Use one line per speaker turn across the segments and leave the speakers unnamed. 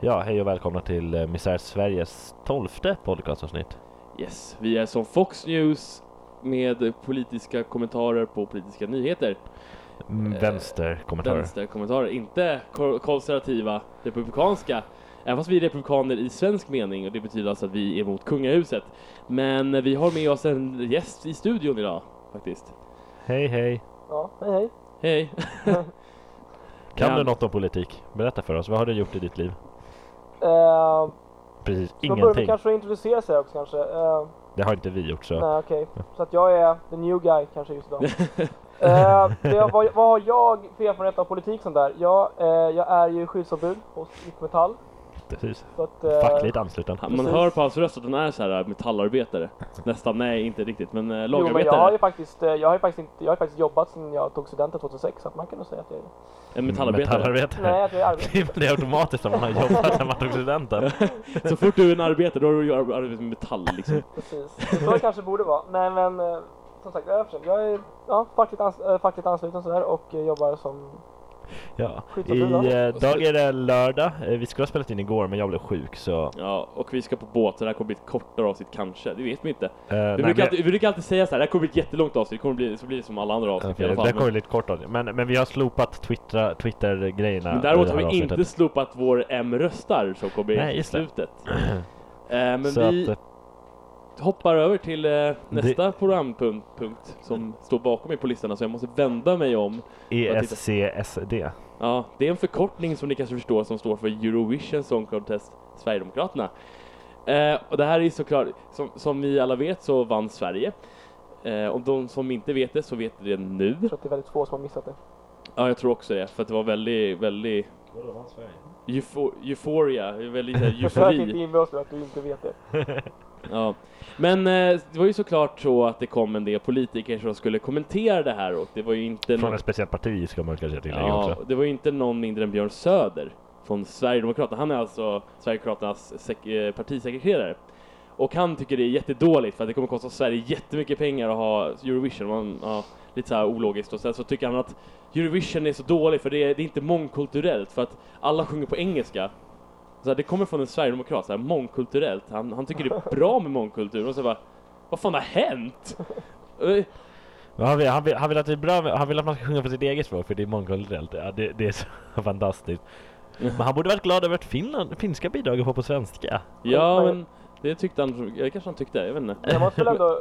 Ja, hej och välkomna till eh, Misär Sveriges tolfte podcastavsnitt.
Yes, vi är som Fox News med politiska kommentarer på politiska nyheter.
Mm,
Eh,
Vänsterkommentarer.
Vänsterkommentarer, inte ko- konservativa republikanska. Även fast vi är republikaner i svensk mening och det betyder alltså att vi är emot kungahuset. Men vi har med oss en gäst i studion idag faktiskt.
Hej hej!
Ja, hej hej.
Hej!
Kan
Ja.
du något om politik? Berätta för oss, vad har du gjort i ditt liv?
Eh,
Precis
man börjar väl
ingenting.
kanske introducera sig också kanske. Eh,
Det har inte vi gjort så.
Nej okej, så att jag är the new guy kanske just idag. eh, det, vad, vad har jag för erfarenhet av politik sånt där? Ja, eh, jag är ju skyddsombud hos IF Metall.
Precis.
Så att, eh,
Fackligt ansluten.
Han- Man
Precis.
hör på hans röst att han är så här äh, metallarbetare. Nästan, nej inte riktigt men eh,
Jo, men jag har ju
lagarbetare.
faktiskt, eh, jag har ju faktiskt, inte, jag har ju faktiskt jobbat sedan jag tog studenten 2006 så att man kan nog säga att jag är
En metallarbetare.
Nej, att jag är arbetare.
Det blir automatiskt om man har jobbat när man tog studenten.
Så fort du är en arbetare då har du ju ar- arbetat med metall liksom.
Precis. Det tror jag kanske borde vara. Nej men eh, som sagt, jag är, försökt. jag är ja, fackligt, ans- eh, fackligt ansluten sådär och eh, jobbar som...
Ja. I,
Skyddsombud, va?
eh, dag är det lördag. Eh, vi skulle ha spelat in igår men jag blev sjuk så... eh,
Ja, och vi ska på båt så det här kommer bli ett kortare avsnitt kanske, det vet vi inte.
eh, nej, men-
Vi, brukar alltid, vi brukar alltid säga så här, det här kommer bli ett jättelångt avsnitt, det kommer bli, så blir det som alla andra avsnitt i
Okej,
alla
Det
fall.
där kommer
Men,
lite kort av det. Men, men vi har slopat Twitter- Twitter-grejerna.
men däremot
i det här
har vi
avsnittet.
inte slopat vår M röstar som kommer
Nej,
i
just det.
slutet. Eh, men
så
vi
att, eh,
hoppar över till eh, nästa programpunkt punkt, som står bakom mig på listan, så jag måste vända mig om.
eh,
titta.
ESCSD.
Ja, det är en förkortning som ni kanske förstår som står för Eurovision Song Contest Sverigedemokraterna. Eh, och det här är såklart, som, som vi alla vet så vann Sverige. Eh, och de som inte vet det så vet det nu.
Jag tror att det är väldigt få som har missat det.
Ja, jag tror också det, för att det var väldigt, väldigt eufo- euphoria, väldigt så här,
Försök inte
eufori.
inbilla oss nu att du inte vet det.
Ja. Men eh, det var ju såklart så att det kom en del politiker som skulle kommentera det här och det var ju inte
Från
någon-
ett speciellt parti ska man kanske tillägga
Ja,
också.
det var ju inte någon mindre än Björn Söder från Sverigedemokraterna. Han är alltså Sverigedemokraternas sek- eh, partisekreterare. Och han tycker det är jättedåligt för att det kommer kosta Sverige jättemycket pengar att ha Eurovision. Man, ja, lite så här ologiskt. Och sen så tycker han att Eurovision är så dålig för det är, det är inte mångkulturellt för att alla sjunger på engelska. Så här, det kommer från en sverigedemokrat, så här, mångkulturellt. Han, han tycker det är bra med mångkultur. Och så bara, vad fan har hänt? Eh,
Men Han vill, han, vill, han, vill att det är bra, med- han vill att man ska sjunga på sitt eget språk för det är mångkulturellt. Ja, det, det är så fantastiskt. Men han borde varit glad över att Finland, finska bidrag får på svenska.
Ja, men det tyckte han, jag kanske han tyckte, jag vet inte.
Men Jag måste väl ändå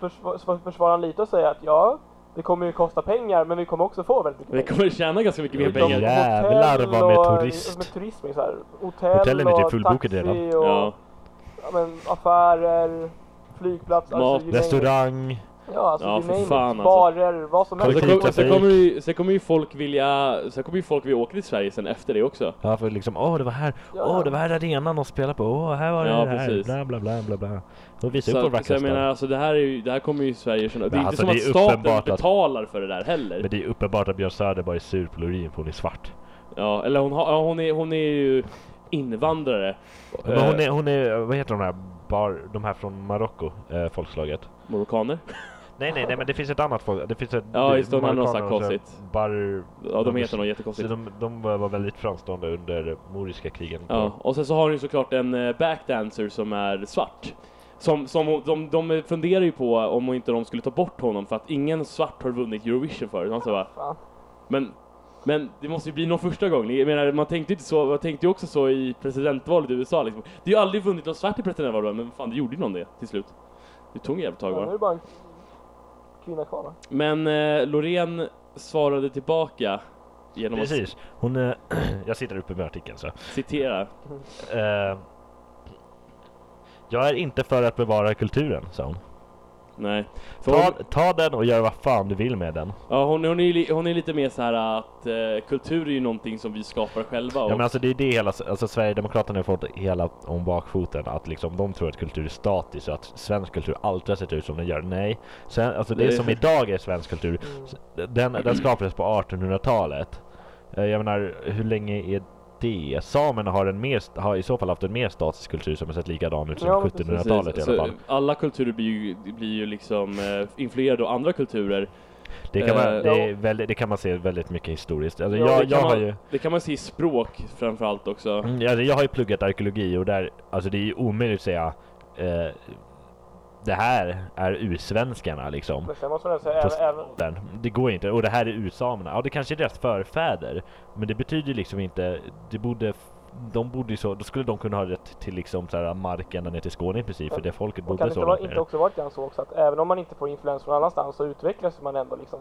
försvara, försvara honom lite och säga att ja, det kommer ju kosta pengar men vi kommer också få väldigt
Vi
mycket pengar.
kommer tjäna ganska mycket mer
Ja,
pengar.
ja. Jävlar vad med
och-
turist.
Med turism, så här. Hotell
Hotellen är typ
och
fullbokade
taxi
redan.
Och,
Ja.
ja. men, affärer, flygplats, alltså,
Mat,
you name it.
Restaurang.
Ja, alltså,
Ja,
you
för
name it.
fan, alltså.
Barer, vad som
Och
helst.
Sen kom- och sen
Kollektivtrafik.
kommer ju, sen kommer ju folk vilja, sen kommer ju folk vilja åka till Sverige sen efter det också.
Ja, för liksom, åh det var här,
Ja.
åh det var här arenan de spelade på, åh här var det
Ja,
det här,
precis.
bla bla bla bla bla. Och visa upp vår
Så, så
vackra
jag
stad.
menar alltså det här, är ju, det här kommer ju Sverige känna. Det är
alltså,
inte
det är
som att staten
uppenbart att-
betalar för det där heller.
Men det är uppenbart att Björn Söder bara är sur på Loreen för hon är svart.
Ja, eller hon, har, ja, hon, är, hon är ju invandrare.
Men
Eh.
hon är, hon är, vad heter de här, bar, de här från Marocko, eh, folkslaget?
Marockaner.
Nej nej nej men det finns ett annat folk, det finns ett...
Ja, just det, de har något
marockaner och
så
så
här
här
konstigt.
Bar...
Ja, de heter något
Så
jättekonstigt.
de, de var var väldigt framstående under moriska krigen.
Ja, och sen så har hon ju såklart en eh, backdancer som är svart. Som, som hon- de, de funderar ju på om inte de skulle ta bort honom för att ingen svart har vunnit Eurovision förut. Han sa bara,
Fan.
Men, men det måste ju bli någon första gång. Jag menar, man tänkte ju inte så, man tänkte ju också så i presidentvalet i USA liksom. Det har ju aldrig vunnit någon svart i presidentvalet, men fan det gjorde ju någon det till slut. Det tog en jävla tag
Ja, nu är
bara.
det bara en kvinna kvar va?
Men eh, Loreen svarade tillbaka genom
Precis. Hon... eh, jag sitter uppe med artikeln så.
att citera.
Eh, jag är inte för att bevara kulturen, sa hon.
Nej. För
Ta,
hon,
ta den och gör vad fan du vill med den.
ja, hon, hon, är, ju li- hon är lite mer så här att eh, kultur är ju någonting som vi skapar själva.
Ja
Och,
men alltså det är det hela, alltså Sverigedemokraterna har fått hela om bakfoten att liksom de tror att kultur är statiskt och att svensk kultur alltid har sett ut som den gör. Nej, Sen, alltså det
Det-
som idag är svensk kultur,
Mm.
den, den skapades på 1800-talet. Eh, Jag menar, hur länge är det? Samerna har, en mer, har i så fall haft en mer statisk kultur som har sett likadan ut
Ja,
sedan
men precis.
Precis, Alltså,
1700-talet i alla
så
fall.
Alla kulturer blir ju, blir ju liksom eh, influerade av andra kulturer.
Det kan, man,
Eh,
det, är väldigt, det kan man se väldigt mycket historiskt. Alltså,
det,
jag,
kan
jag, har
man,
ju,
det kan man se i språk framförallt också.
mm, alltså, jag har ju pluggat arkeologi och där, alltså det är ju omöjligt att säga eh, det här är ursvenskarna liksom.
Men sen måste man säga,
Fast-
även, även,
Där. Det går inte. Och det här är ursamerna. Ja, det kanske är deras förfäder. Men det betyder liksom inte... Det borde, de borde ju så... Då skulle de kunna ha rätt till liksom så här mark ända ner till Skåne i princip. För det folket
och kan
bodde
det
så
inte, vara,
långt ner.
inte också vara lite grann så också att även om man inte får influens från annanstans så utvecklas man ändå liksom.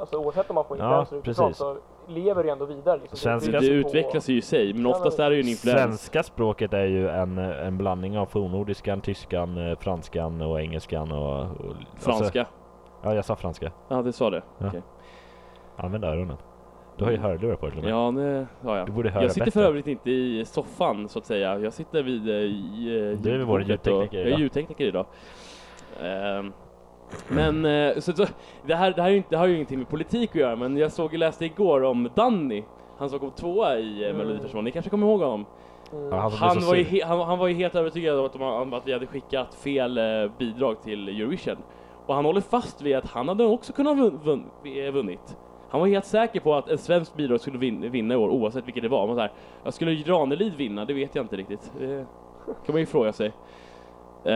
Alltså oavsett om man får
Ja,
influenser utifrån
precis.
så lever det ändå vidare. Liksom.
Svenska-
Alltså, Det, det utvecklas ju i sig, men oftast är det ju en influens.
Svenska språket är ju en, en blandning av fornnordiskan, tyskan, eh, franskan och engelskan och... och Alltså,
Franska.
ja, jag sa franska.
Ja, det sa det.
Ja.
Okej.
Använd öronen. Du har ju hörlurar på dig till och med.
Ja, det har jag.
Du borde höra
Jag sitter
bättre.
för övrigt inte i soffan så att säga. Jag sitter vid... eh, i, eh,
Du är väl vår
ljudbordet
ljudtekniker
och,
idag.
Jag är ljudtekniker idag. Ehm, men eh, så, så, det, här, det, här är ju inte, det här har ju ingenting med politik att göra men jag såg och läste igår om Danny. Han som kom tvåa i mm.
Mm.
Melodifestivalen. Ni kanske kommer ihåg honom?
Ja,
Mm.
han, som blir
Han
så
var, ju
sur.
he- han, han var ju helt övertygad om att, de, om att vi hade skickat fel eh, bidrag till Eurovision. Och han håller fast vid att han hade också kunnat vun, vun, eh, vunnit. Han var helt säker på att ett svenskt bidrag skulle vin, vinna i år oavsett vilket det var. Men så här, jag skulle Ranelid vinna, det vet jag inte riktigt. Det kan man ju fråga sig. Eh,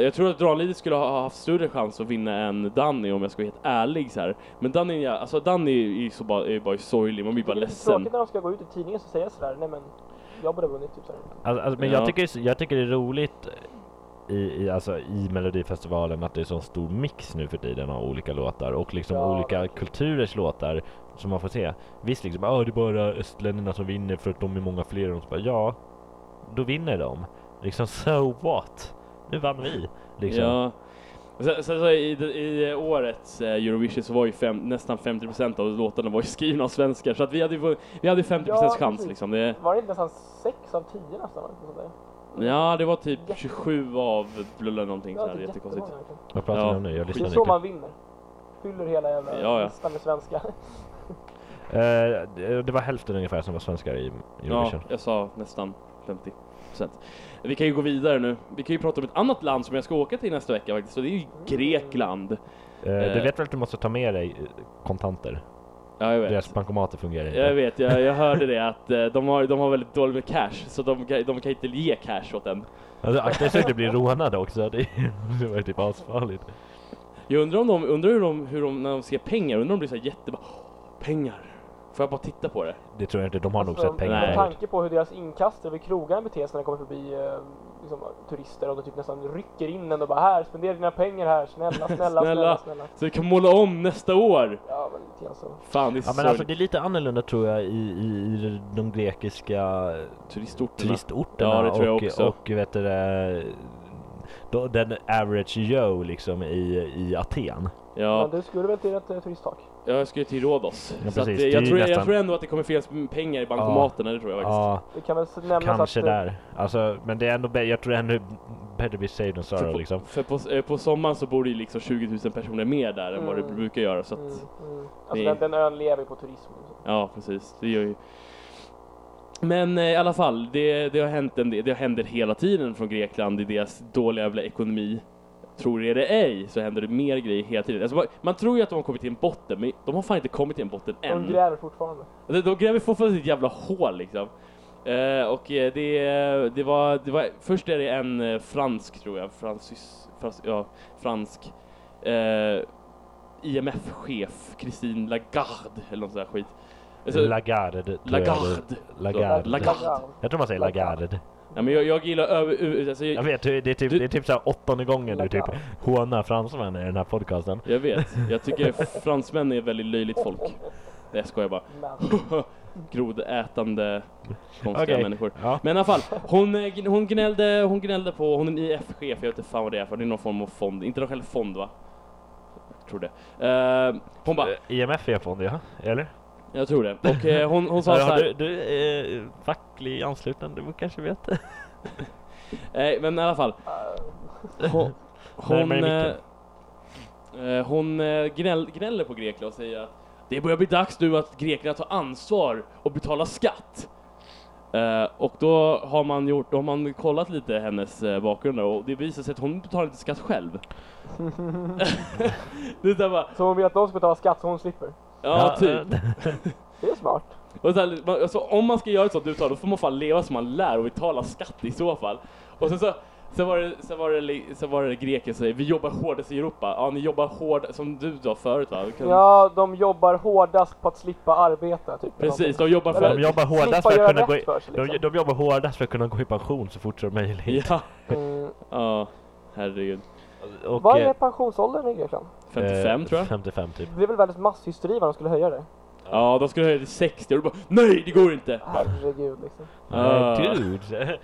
jag tror att Ranelid skulle ha ha haft större chans att vinna än Danny om jag ska vara helt ärlig så här. Men Danny, är- alltså Danny är ju så bara, är ju bara sorglig, man blir
Det
bara
är lite
ledsen.
tråkigt när de ska gå ut i tidningen så säga sådär, nej men jag borde ha vunnit typ sådär.
Alltså, alltså, men
Ja.
jag, tycker, det är så- jag tycker det är roligt i, i, alltså, i Melodifestivalen att det är så stor mix nu för tiden av olika låtar och liksom
Ja,
olika kulturers låtar som man får se. Visst liksom, ah, det är bara östländerna som vinner för att de är många fler. Och så bara, ja, då vinner de. Liksom, so what? Nu vann vi. Liksom.
Ja. Sen, sen så i, i årets eh, Eurovision så var ju fem, nästan 50% av låtarna var ju skrivna av svenskar så att vi hade ju vunnit- vi hade 50%
Ja,
chans
precis.
liksom. Det,
Var det inte nästan 6 av 10 nästan? Var det inte sånt där?
ja, det var typ 27 av blulla någonting så här,
typ
jättekonstigt.
jättemånga verkligen.
Vad pratar
Ja.
ni om nu? Jag
Det
lyssnar
är
inte.
så man vinner. Fyller hela jävla
Ja, ja.
listan med svenska.
Eh, det- det var hälften ungefär som var svenskar i i
Ja,
Eurovision.
jag sa nästan 50%. Vi kan ju gå vidare nu. Vi kan ju prata om ett annat land som jag ska åka till nästa vecka faktiskt och det är ju Grekland.
Eh, du
Eh.
vet väl att du måste ta med dig eh, kontanter?
Ja, jag vet.
Deras bankomater fungerar inte.
Jag vet, jag, jag hörde det att eh, de har, de har väldigt dåligt med cash så de, kan- de kan inte ge cash åt en.
Alltså akta så att du blir rånad också, det, det var ju typ asfarligt.
Jag undrar om de, undrar hur de, hur de när de ser pengar, undrar om de blir så här jätte... bara, "Åh, Pengar! Får jag bara titta på det?
Det tror jag inte, de har nog
Alltså,
sett pengar
nej.
förut.
Med tanke på hur deras inkast över krogarna beter sig när de kommer förbi eh, liksom, turister och de typ nästan rycker in en och bara här, spendera dina pengar här, snälla, snälla, snälla,
Snälla.
snälla.
Så vi kan måla om nästa år!
Ja, men lite grann så.
Fan, det är
Ja
sorgligt.
men alltså det är lite annorlunda tror jag i, i, i de grekiska
Turistorterna.
turistorterna
Ja, det tror jag
och,
också.
och vet du det, då, den average Joe liksom i, i Aten.
Ja,
Men du skulle väl till ett eh, turisttak?
jag ska ju till Rhodos.
Ja,
så att, eh,
precis. Det är
jag,
ju
tror, jag
nästan-
tror ändå att det kommer finnas pengar i bankomaterna, det tror jag faktiskt.
Ja,
Vi kan väl s- nämna
kanske
så att, eh,
där. Alltså, men det är ändå, bä- jag tror det är ännu better be safe than
För,
sorry
på,
liksom.
för på, eh, på sommaren så bor det ju liksom 20 000 personer mer där än vad det
Mm.
brukar göra så att,
Mm, mm. Alltså
det-
den, den ön lever ju på turism. liksom.
ja precis, det gör ju men eh, i alla fall, det, det har hänt en del, det händer hela tiden från Grekland i deras dåliga jävla ekonomi. Tror det eller ej så händer det mer grejer hela tiden. Alltså, man, man tror ju att de har kommit till en botten, men de har fan inte kommit till en botten än.
De gräver fortfarande.
De, de gräver fortfarande ett jävla hål liksom. Eh, och eh, det, det, var, det var, först är det en eh, fransk tror jag, fransys, frans, ja, fransk eh, IMF-chef, Christine Lagarde eller något sånt där skit. Alltså,
Lagarde. tror jag det-
Lagarde.
Lagarde.
Lagarde.
Jag tror man säger Lagarde.
Ja, men jag, jag gillar över... u- Alltså,
Jag
jag,
vet, det är typ,
Du-
det är typ såhär åttonde gången du typ
Lagarde.
hånar fransmän i den här podcasten.
jag vet. Jag tycker fransmän är väldigt löjligt folk. Nej, jag skojar bara.
Men,
Grodätande konstiga
Okej.
människor.
Ja.
Men i alla fall, hon, eh, gn- hon, gnällde, hon gnällde på, hon är en IF-chef, jag vet inte fan vad det är för, det är någon form av fond, internationell fond va? Jag tror det. Eh, hon bara,
IMF är en fond ja, eller?
jag tror det. Och eh, hon, hon sa
Ja,
såhär,
du, du är facklig ansluten, du kanske vet?
nej eh, men i alla fall.
eh,
Hon, hon,
Närmare
eh, eh, hon eh, gnäll, gnäller på Grekland och säger att det börjar bli dags nu att grekerna tar ansvar och betalar skatt. Eh, och då har man gjort, då har man kollat lite hennes eh, bakgrund och det visar sig att hon betalar inte skatt själv. det är så här bara,
Så hon vill att de ska betala skatt så hon slipper.
ja
eh,
typ.
Det är smart.
Och så här, man, alltså, om man ska göra ett sånt uttal då får man fan leva som man lär och betala skatt i så fall. Och sen så, sen var det, sen var det, li- sen var det greken som säger vi jobbar hårdast i Europa. Ja ni jobbar hård som du sa förut va? Vi kan-
Ja, de jobbar hårdast på att slippa arbeta. Typ,
Precis, de jobbar
De
för...
jobbar hårdast för
göra
att kunna
rätt
gå i,
för sig,
de,
liksom.
de jobbar hårdast för att kunna gå i pension så fort som möjligt.
Ja,
Mm.
ja herregud.
Och,
Vad är
eh,
pensionsåldern i Grekland?
55
eh,
tror jag.
55 typ.
Det är väl världens masshysteri vad de skulle höja det?
Ja, de skulle höja till 60 och du bara NEJ det går inte!
Herregud liksom.
Ah.
Nej, dude.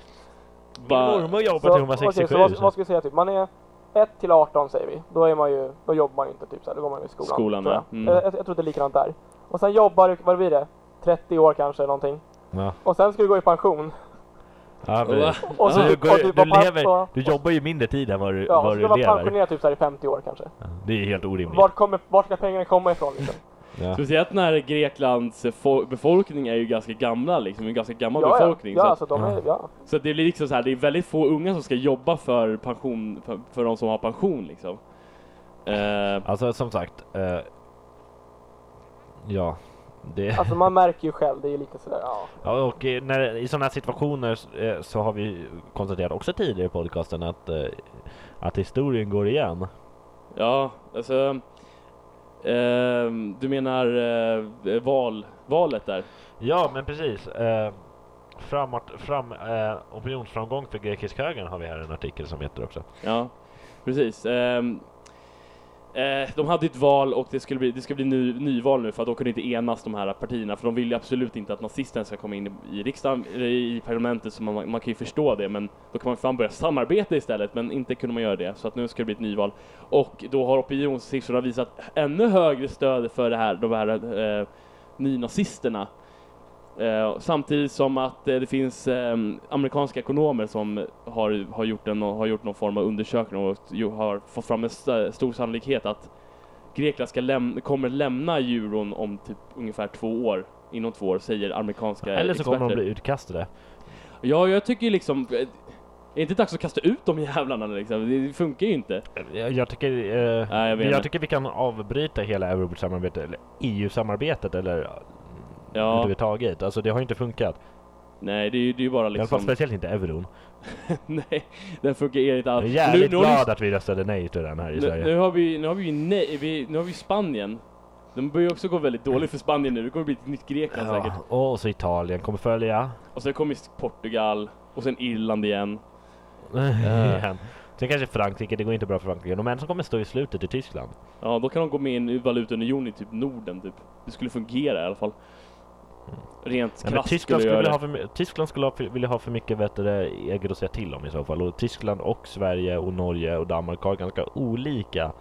Min
Bara-
mormor jobbar
Så,
till
okej,
167.
så vad, vad ska vi säga typ? Man är 1 till 18 säger vi. Då är man ju, då jobbar man ju inte typ så här. då går man ju i skolan.
Skolan,
tror
ja.
jag.
Mm.
Eh, Jag, jag tror det är likadant där. Och sen jobbar du, vad blir det? 30 år kanske någonting.
Ja.
Och sen ska du gå i pension.
Ja, precis.
Och
Så
så-
du,
och
går,
du
du,
var pa-
lever,
och-
du jobbar ju mindre tid än vad du,
Ja, och
vad
så
du
ska man vara
lever.
pensionerad typ så här i 50 år kanske.
Det är helt orimligt.
Vart, kommer, vart ska pengarna komma ifrån liksom?
Ja.
Speciellt när Greklands eh, fo- befolkning är ju ganska gamla liksom, en ganska gammal
Ja, ja,
befolkning.
ja
så,
alltså de är, ja.
att, så att det blir liksom så här, det är väldigt få unga som ska jobba för pension, för, för de som har pension liksom. Eh,
Alltså som sagt. Eh, ja. Det,
Alltså man märker ju själv, det är lite sådär, ja.
ja, och eh, när, i sådana här situationer eh, så har vi konstaterat också tidigare i podcasten att, eh, att historien går igen.
ja, alltså. ehm, du menar eh, val, valet där?
Ja, men precis. Eh, framåt, fram, eh, opinionsframgång för grekisk högern har vi här en artikel som heter också.
Ja, precis. Ehm, eh, de hade ett val och det skulle bli, det skulle bli ny, nyval nu för att de kunde inte enas de här partierna för de vill ju absolut inte att nazisterna ska komma in i, i riksdagen, eller i parlamentet så man, man kan ju förstå det men då kan man fan börja samarbeta istället men inte kunde man göra det så att nu ska det bli ett nyval och då har opinionssiffrorna visat ännu högre stöd för det här, de här eh, nynazisterna Eh, samtidigt som att eh, det finns eh, amerikanska ekonomer som har, har, gjort en, har gjort någon form av undersökning och ju, har fått fram en st- stor sannolikhet att Grekland ska läm- kommer lämna euron om typ ungefär två år. Inom två år, säger amerikanska
Eller så
experter.
kommer de bli utkastade.
Ja, jag tycker ju liksom... eh, Är det inte dags att kasta ut de jävlarna liksom? Det funkar ju inte.
Jag, jag, tycker, eh,
Nej, jag
jag,
vet inte.
tycker vi kan avbryta hela eurosamarbetet, eller EU-samarbetet eller
Ja.
överhuvudtaget. Alltså det har ju inte funkat.
Nej, det är ju det är ju bara
I alla fall
liksom...
speciellt inte euron.
Nej, den funkar inte
Jag är
alls.
jävligt
Nu- nu har ni
glad att vi röstade nej till den här i
Nu,
Sverige.
nu har vi nu har vi, ju nej, vi nu har vi Spanien. De börjar ju också gå väldigt dåligt för Spanien nu. Det kommer bli ett nytt Grekland säkert.
ja, och så Italien kommer följa.
Och sen kommer Portugal och sen Irland igen.
Igen. Sen kanske Frankrike, det går inte bra för Frankrike. De enda som kommer stå i slutet är Tyskland.
Ja, då kan de gå med i en valutaunion i typ Norden typ. Det skulle fungera i alla fall. Rent
Ja, men
krasst
Tyskland skulle,
skulle det göra
vilja ha
det.
för, my- Tyskland skulle ha för, vilja ha för mycket vet du, det, eget att säga till om i så fall. Och Tyskland och Sverige och Norge och Danmark har ganska olika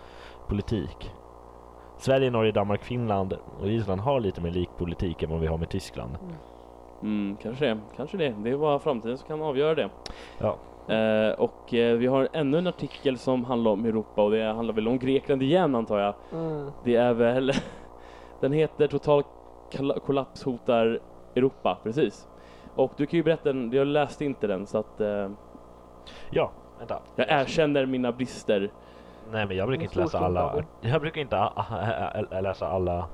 politik. Sverige, Norge, Danmark, Finland och Island har lite mer lik politik än vad vi har med Tyskland.
Mm, kanske det. Kanske det. Det är bara framtiden som kan avgöra det.
Ja.
Eh, och eh, vi har ännu en artikel som handlar om Europa och det handlar väl om Grekland igen antar jag.
Mm.
Det är väl... Den heter Total kol- kollaps hotar Europa, precis. Och du kan ju berätta, den- jag läste inte den så att eh,
Ja, vänta.
jag erkänner mina brister.
Nej men jag brukar
En
inte läsa
stor
alla...
skillnad.
Jag brukar inte a- a- a- a- läsa alla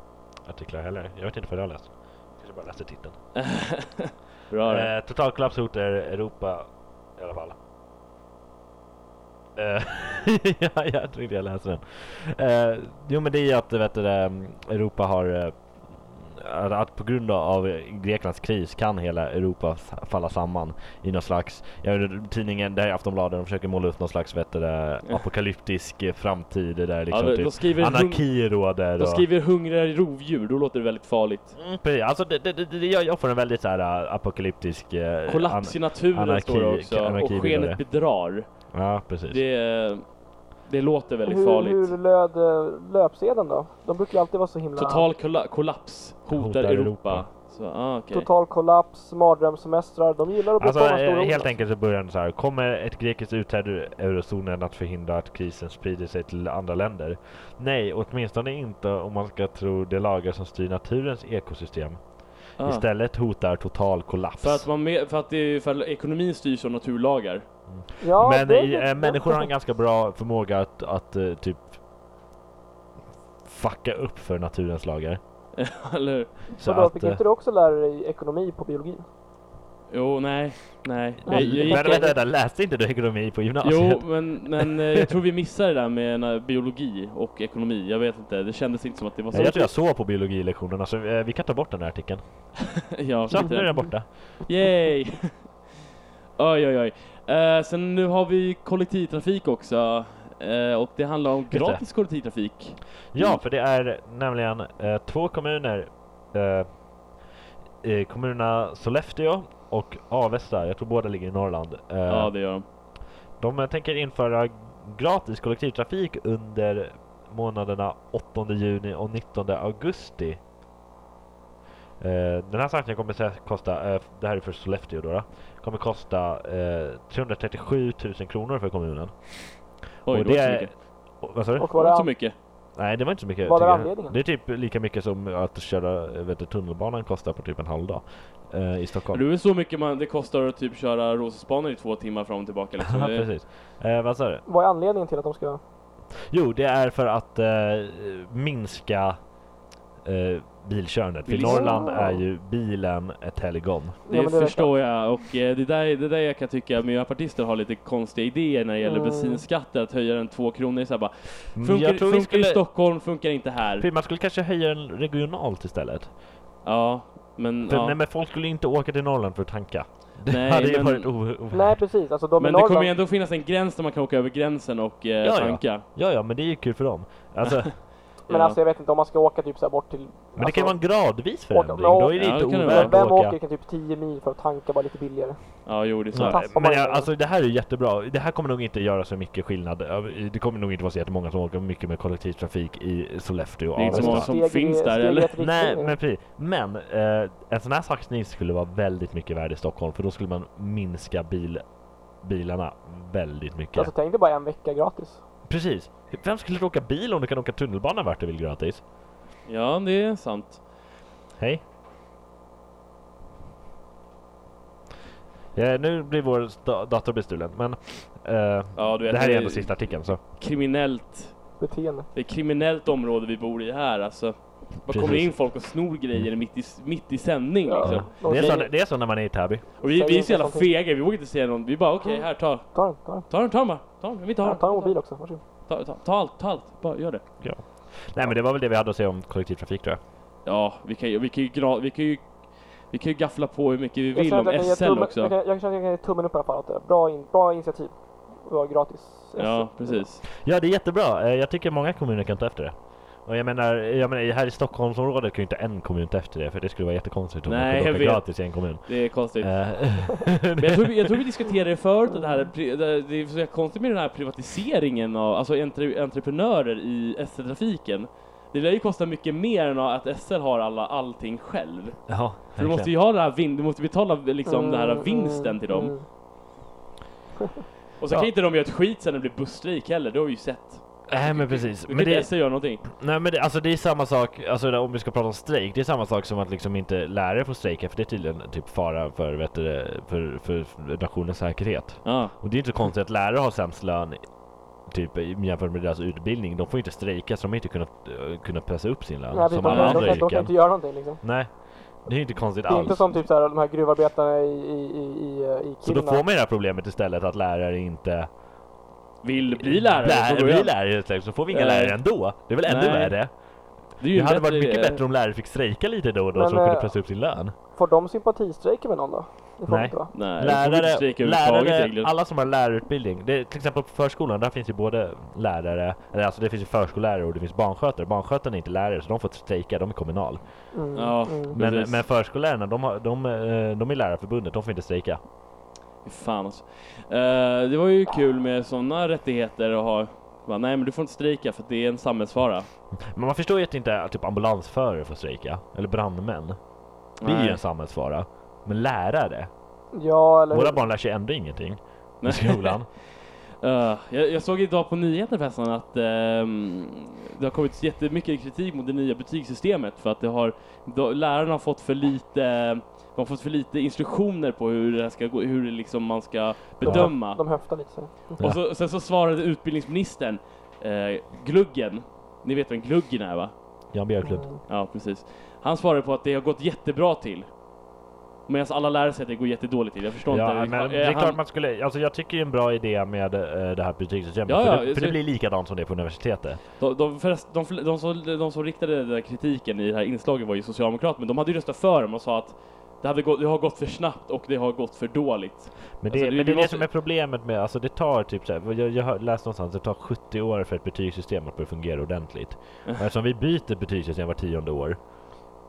artiklar heller. Jag vet inte vad jag har läst. Kanske bara läste titeln.
Bra det.
Eh, total kollaps hotar Europa i alla fall. Eh, ja, jag tror inte jag läser den. Eh, jo men det är ju att vet du, det, mm, Europa har... eh, att- Att på grund av Greklands kris kan hela Europa s- falla samman i någon slags... Jag vet, tidningen, det här är Aftonbladet, de försöker måla upp någon slags vet du, det, apokalyptisk eh, framtid där
Ja,
liksom
då, då,
typ
skriver hung-
anarki råder.
då
och-
skriver hungriga rovdjur, då låter det väldigt farligt.
Mm, precis. Alltså det, det, det, det, jag, jag får en väldigt så här eh, apokalyptisk... eh, an-
Kollaps i naturen
anarki-
står det också.
anarki
Och
blir
skenet bedrar.
Ja, precis.
Det, det låter väldigt
Hur,
farligt.
hur löd eh, löpsedeln då? De brukar ju alltid vara så himla...
Total kolla- kollaps hotar,
Hotar
Europa.
Europa.
Så, ah, okej.
Total kollaps, mardrömssemestrar. De gillar att
Alltså
bestämma
eh,
stora ord.
helt enkelt så börjar den så här. Kommer ett grekiskt utträde ur eurozonen att förhindra att krisen sprider sig till andra länder? Nej, åtminstone inte om man ska tro de lagar som styr naturens ekosystem.
Ah.
Istället hotar total kollaps.
För att, man med, för att det är, för att ekonomin styrs av naturlagar.
Ja,
Men
det är
i,
lite-
eh, människor har en ganska bra förmåga att, att eh, typ fucka upp för naturens lagar.
Eller
Så
Vadå,
att, eh,
fick inte du också lära dig ekonomi på biologin?
Jo, nej, nej.
eh,
Jag, jag gick,
vänta, vänta, vänta, läste inte du ekonomi på gymnasiet?
jo, men, men eh, jag tror vi missade det där med eh, biologi och ekonomi. Jag vet inte, det kändes inte som att det var så.
Eh, Jag tror jag såg på biologilektionerna så eh, vi kan ta bort den här artikeln.
ja,
Så,
skit i
nu är
det.
den borta.
Yay! oj, oj, oj. Eh, sen nu har vi kollektivtrafik också. Eh, och det handlar om
det.
gratis kollektivtrafik.
Ja,
Mm.
för det är nämligen eh, två kommuner. Eh, eh, kommunerna Sollefteå och Avesta, jag tror båda ligger i Norrland. Eh,
Ja, det gör de.
De eh, tänker införa gratis kollektivtrafik under månaderna 8 juni och 19 augusti. Eh, Den här satsningen kommer sä- kosta, eh, det här är för Sollefteå då, då kommer kosta eh, 337 000 kronor för kommunen.
Oj,
Och
det var inte så
är-
mycket.
och- Vad sa du?
Och
Det var inte så
våra...
mycket.
Nej, det var inte så mycket.
Vad är
tycker jag.
anledningen?
Det är typ lika mycket som att köra eh, vet du, tunnelbanan kostar på typ en halv dag eh, i Stockholm.
Det är väl så mycket man, det kostar att typ köra Roserspanen i två timmar fram och tillbaka liksom.
Ja,
det,
precis. Eh, vad sa du?
Vad är anledningen till att de ska...
Jo, det är för att eh, minska eh, bilkörandet. För
Bilism.
Norrland är ju bilen ett helgon.
det
Ja, men vet
förstår jag och eh, det där, det där jag kan tycka miljöpartister har lite konstiga idéer när det gäller
Mm.
bensinskatter, att höja den två kronor. Så här bara,
Mm,
funkar
jag tror vi
funkar i
skulle-
Stockholm, funkar inte här.
För man skulle kanske höja den regionalt istället.
Ja, men...
För,
ja.
nej, men folk skulle inte åka till Norrland för att tanka. Det
Nej,
hade ju
men-
varit o- o-
jag. Nej precis, alltså de i
Men det kommer
Norrland...
ju ändå finnas en gräns där man kan åka över gränsen och eh,
ja.
tanka. Ja.
Ja, ja, men det är ju kul för dem. Alltså,
Men alltså jag vet inte om man ska åka typ så här bort till...
men det kan ju vara en
Alltså-
gradvis
åka-
förändring. Då är det
Ja,
inte
det kan det
ovärt
vara.
att
Vem
åka.
åker typ 10 mil för att tanka bara lite billigare?
ja, jo det är så.
Ja,
tappar
men
man
jag,
ju-
alltså det här är ju jättebra. Det här kommer nog inte göra så mycket skillnad. Det kommer nog inte vara så jättemånga som åker mycket med kollektivtrafik i Sollefteå och
Det är inte så många
Avesta.
som
Alltså, Steg i-
finns där,
steg i
eller?
rätt riktning.
Nej, men precis. Men eh, en sån här satsning skulle vara väldigt mycket värd i Stockholm för då skulle man minska bil, bilarna väldigt mycket.
Alltså tänk dig bara en vecka gratis.
Precis. Vem skulle åka bil om du kan åka tunnelbana vart du vill gratis?
Ja, det är sant.
Hej. Eh, nu blir vår sta- dator bestulen, men eh,
Ja, du vet,
det här är ändå sista artikeln så.
kriminellt.
Beteende.
Det är ett kriminellt område vi bor i här alltså. Man
Precis.
kommer in folk och snor grejer mitt i, mitt i sändning
Ja.
liksom.
De
Det är, så,
säger-
det är så när man är i Täby.
Och vi,
Säger
vi är
inte
så jävla
någonting. Mm.
fega, vi vågar inte säga någon. Vi bara okej, här ta.
Ta den, ta den.
Ta den, ta den bara. Ta den, vi tar
Ja,
den.
ta en mobil också, varsågod.
Ta, ta, ta allt, ta allt. Bara gör det.
Nej men det var väl det vi hade att säga om kollektivtrafik tror jag.
Ja, vi kan ju, vi kan ju, gra- vi kan ju, vi kan ju gaffla på hur mycket vi
Jag
vill
känner att
om
jag kan ge
SL
tummen-
också.
Jag, kan- jag känner att jag kan ge tummen upp i alla fall åt det. Bra, in, bra initiativ. Det var gratis.
Ja,
SL.
precis.
Ja det är jättebra, Eh, jag tycker många kommuner kan ta efter det. Och jag menar, jag menar här i Stockholmsområdet kan ju inte en kommun ta efter det för det skulle vara jättekonstigt om
Nej,
man kunde
jag
åka
vet.
gratis i en kommun.
Det är konstigt.
Eh,
Men jag tror, vi- jag tror vi diskuterade det förut, att det, här, är pri- det det är så jävla konstigt med den här privatiseringen av alltså entre, entreprenörer i SL-trafiken. Det lär ju kosta mycket mer än att SL har alla, allting själv.
ja,
För du måste
verkligen.
ju ha den här vin, du måste betala liksom den här
Mm,
vinsten till dem.
mm.
Och så kan
Ja.
inte de göra ett skit sen när det blir busstrejk heller, det har vi ju sett.
Nej men precis.
Då
Men
kan inte
det,
SL göra någonting.
nej, men det, alltså, det är samma sak, alltså, om vi ska prata om strejk, det är samma sak som att liksom inte lärare får strejka för det är tydligen typ fara för, vet du, det, för, för nationens säkerhet.
Ja.
Och det är inte så konstigt att lärare har sämst lön typ i- jämfört med deras utbildning. De får inte strejka så de har inte kunnat, eh, kunnat pressa upp sin lön
Nej, precis,
som
de,
alla
kan- de,
andra
kan- de kan
yrken.
inte göra någonting liksom.
Nej, det är inte konstigt
Det är inte
alls.
som typ så här, de här gruvarbetarna i, i, i, i, eh, i
Så då
Kiruna.
får man ju det här problemet istället att lärare inte
Vill bli lärare
Lär,
från
blir
början.
lärare helt enkelt, så får vi inga
Eh.
lärare ändå. Det är väl ännu
Nej.
värre?
Det är ju
Det hade
bättre-
varit mycket bättre om lärare fick strejka lite då och då
Men,
så de kunde
eh,
pressa upp sin lön.
Får de sympatistrejker med någon då? Det får
Nej.
de inte va?
Nej, lärare, de får inte
Lärare,
strejka överhuvudtaget
lärare,
egentligen.
alla som har lärarutbildning, det, är till exempel på förskolan, där finns ju både lärare, eller alltså det finns ju förskollärare och det finns barnskötare. Barnskötarna är inte lärare så de får strejka, de är kommunal.
Mm,
Ja.
mm.
Men,
Precis.
men förskollärarna, de, har, de, eh, de är lärarförbundet, de får inte strejka.
Fy Fan alltså. Eh, det var ju kul med sådana rättigheter att ha. Bara, nej men du får inte strejka för att det är en samhällsfara.
Men man förstår ju att inte eh, typ ambulansförare får strejka, eller brandmän. Det är
Nej.
ju en samhällsfara. Men lärare,
Ja, eller
våra
hur?
barn lär sig ändå ingenting
Nej.
i skolan.
Eh, jag, jag såg idag på nyheterna förresten att ehm, det har kommit jättemycket kritik mot det nya betygssystemet för att det har, då, lärarna har fått för lite de har fått för lite instruktioner på hur det här ska gå, hur det liksom man ska bedöma.
De höftar lite. så.
Och så, sen så svarade utbildningsministern, eh, Gluggen, ni vet vem Gluggen är va?
Jan Björklund.
Mm.
Ja, precis. Han svarade på att det har gått jättebra till. Medan alla lärare säger att det går jättedåligt till. Jag förstår
Ja,
inte.
men det
Eh,
är
han-
klart man skulle, alltså jag tycker det är en bra idé med eh, det här betygssystemet.
Ja, alltså- ja,
för det, för
så-
det blir likadant som det är på universitetet.
De, de, förrest, de, fl- de, som, de som riktade den där kritiken i det här inslaget var ju socialdemokrater, men de hade ju röstat för dem och sa att det, hade gått, det har gått för snabbt och det har gått för dåligt.
Men det,
Alltså, det-
men det
vi
är det
måste-
som är problemet med, alltså det tar typ så här, jag, jag har läst någonstans, det tar 70 år för ett betygssystem att börja fungera ordentligt. Och eftersom vi byter betygssystem var tionde år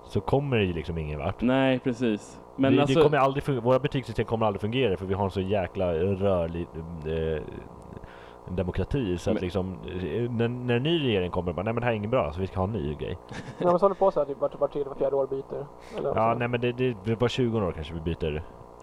så kommer det ju liksom ingen vart.
Nej, precis.
Men
Men
vi,
alltså,
det kommer aldrig fun- våra betygssystem kommer aldrig fungera för vi har en så jäkla rörlig eh, demokrati så att
Men-
liksom eh, när, när en ny regering kommer bara nej men det här är inget bra så vi ska ha en ny grej.
Nej, men så håller på så här typ vart, vart tredje, vart fjärde år byter. Eller
Ja
så.
nej men det, det, det är bara 20 år kanske vi byter. eller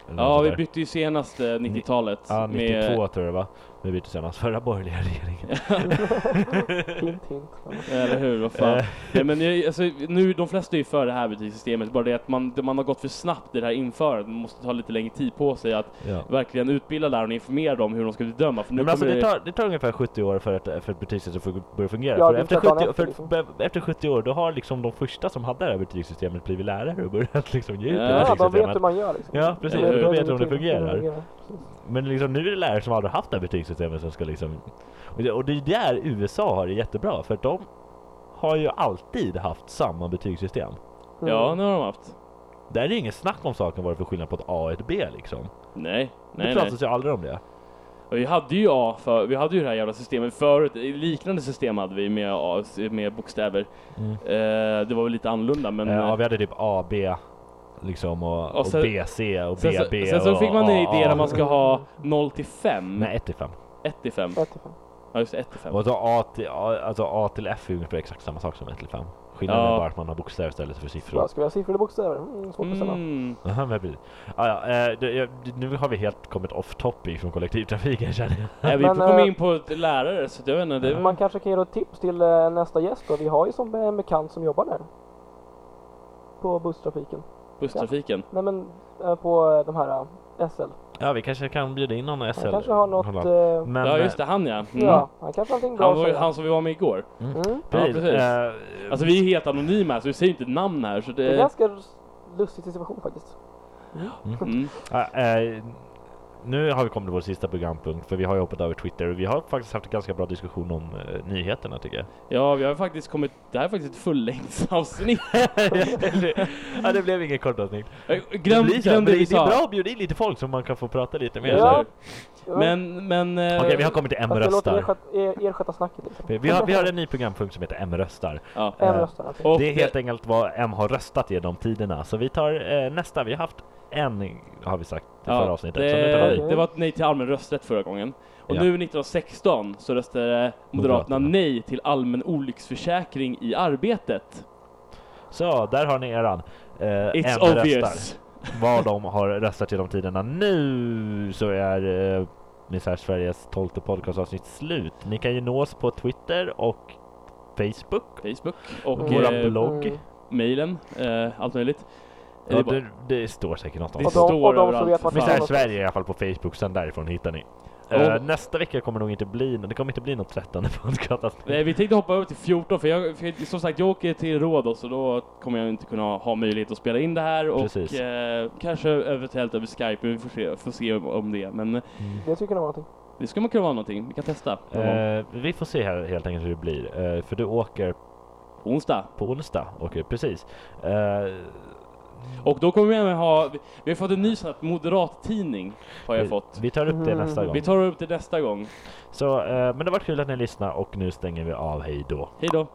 något
Alltså. ja,
sånt
vi
där.
bytte ju senast eh, 90-talet.
Ja, 92
med,
tror jag va? Vi bytte senast, förra borgerliga regeringen.
Hint, hint. Ja.
Eller hur, vad fan.
Eh.
Nej, men jag, alltså, nu, de flesta är ju för det här betygssystemet, bara det att man, man har gått för snabbt i det här införandet. Man måste ta lite längre tid på sig att
Ja.
verkligen utbilda lärarna och informera dem hur de ska bedöma. För nu
Men alltså
kommer
det tar, det tar ungefär 70 år för att, för att betygssystemet ska börja fungera.
Ja,
för
det
efter,
tar dagen
70,
efter,
för,
liksom.
för, efter 70 år då har liksom de första som hade det här betygssystemet blivit lärare och börjat liksom ge ut det
Ja,
här
Ja, de vet
betygssystemet.
hur man gör liksom.
Ja precis,
Ja,
och då
det
vet de om det fungerar. Men liksom, nu är det lärare som aldrig haft det här betygssystemet som ska liksom... Och det, och det är där USA har det jättebra, för att de har ju alltid haft samma betygssystem.
Mm.
Ja, nu har de haft.
Där är det ju ingen snack om saken vad det är för skillnad på ett A och ett B liksom.
Nej, nej,
det
nej.
pratas ju aldrig om det.
Och vi hade ju A för, vi hade ju det här jävla systemet förut, liknande system hade vi med, A, med bokstäver.
Mm.
Eh, det var väl lite annorlunda men...
Eh, ja, vi hade typ A, B liksom och, och,
Och sen-
BC och
sen, så,
BB
sen så
och
fick man en
AA.
idé där man ska ha 0 till 5.
Nej, 1 till 5.
1 till 5.
Ett till fem.
Ja just det, 1 till 5.
Och så A till, A, alltså A till F är ungefär exakt samma sak som 1 till 5. Skillnaden
Ja.
är bara att man har bokstäver istället för siffror.
Ja, Ska vi ha siffror eller bokstäver? Mm, svårt att bestämma.
Mm.
Aha, men precis. Ah, ja, eh, det, jag, nu har vi helt kommit off topic från kollektivtrafiken känner jag.
Nej, vi
Men,
kom
eh,
in på ett lärare så jag vet inte, det är
Man
väl...
kanske kan ge då ett tips till eh, nästa gäst då. Vi har ju som eh, en bekant som jobbar där. På busstrafiken.
busstrafiken.
Nej men eh, på eh, de här eh, SL.
Ja, vi kanske kan bjuda in någon SL.
Han kanske har något... eh,
Men,
Ja just det, han ja. Mm.
Ja, han kanske har någonting bra
Han
att
var ju
säga.
han som vi var med igår.
Mm.
Ja,
Precis.
precis.
Eh,
Alltså vi är helt anonyma här så vi säger inte namn här så
Det är en
det...
ganska lustig situation faktiskt.
Mm.
ah, eh, nu har vi kommit till vår sista programpunkt för vi har ju hoppat över Twitter och vi har faktiskt haft en ganska bra diskussion om eh, nyheterna tycker jag.
Ja, vi har ju faktiskt kommit... Det här är faktiskt ett fullängdsavsnitt.
ja, det blev inget kortavsnitt.
Eh, Glöm,
blir så,
glöm
men
det vi
det är
sa.
bra att bjuda in lite folk som man kan få prata lite med.
Eller
Ja.
så.
hur?
Ja,
Men, men... eh,
Okej, vi har kommit till M
fast jag låter er,
röstar.
sköt, er, er sköta snacket liksom.
Vi vi har, vi har en ny programpunkt som heter M röstar.
ja.
Eh,
En röstar alltså.
Och
Det är helt enkelt vad M har röstat genom tiderna. Så vi tar eh, nästa. Vi har haft en, har vi sagt, i förra avsnittet. Så nu tar vi.
det, det var ett nej till allmän rösträtt förra gången. Och
Ja.
nu 1916 så röstade Moderaterna
Moderaterna.
nej till allmän olycksförsäkring i arbetet.
Så, där har ni eran. Eh,
It's
M röstar.
obvious.
Vad de har röstat genom tiderna. Nu så är eh, Misär Sveriges 12 podcastavsnitt slut. Ni kan ju nås på Twitter och Facebook.
Facebook och
Mm.
Våran
eh,
blogg. logg.
Mm.
mailen, eh, allt möjligt.
Ja,
Eh, bara-
det, det står säkert något om
Det
Och
det.
de, och de
överallt,
som vet
för
vart
fan.
Misär
någonstans.
Sverige i alla fall på Facebook, sen därifrån hittar ni.
Ja.
Eh, nästa vecka kommer nog inte bli, det kommer inte bli något trettonde podcastavsnitt.
Nej, vi tänkte hoppa över till 14 för, jag, för som sagt jag åker till Rhodos och då kommer jag inte kunna ha möjlighet att spela in det här och
Precis.
eh, kanske eventuellt över Skype, vi får se, får se om- om det. Men eh,
Det skulle kunna vara någonting.
det ska man kunna vara någonting, vi kan testa.
Eh, vi får se här helt enkelt hur det blir. Eh, för du åker
På onsdag.
på onsdag. Åker, precis. Eh,
Och då kommer vi även ha, vi, vi har fått en ny sån här moderat tidning har jag
vi-
fått.
Vi tar upp det nästa
Mm.
gång.
Vi tar upp det nästa gång.
Så, eh, men det var kul att ni lyssnade och nu stänger vi av. Hej då.
Hej då!